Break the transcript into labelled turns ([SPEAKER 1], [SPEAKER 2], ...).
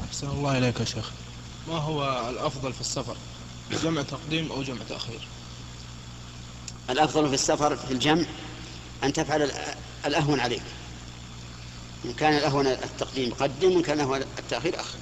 [SPEAKER 1] أحسن الله إليك يا شيخ ما هو الأفضل في السفر جمع تقديم أو جمع تأخير
[SPEAKER 2] الأفضل في السفر في الجمع أن تفعل الأ- الأهون عليك إن كان الأهون التقديم قدم وإن كان الأهون التأخير أخر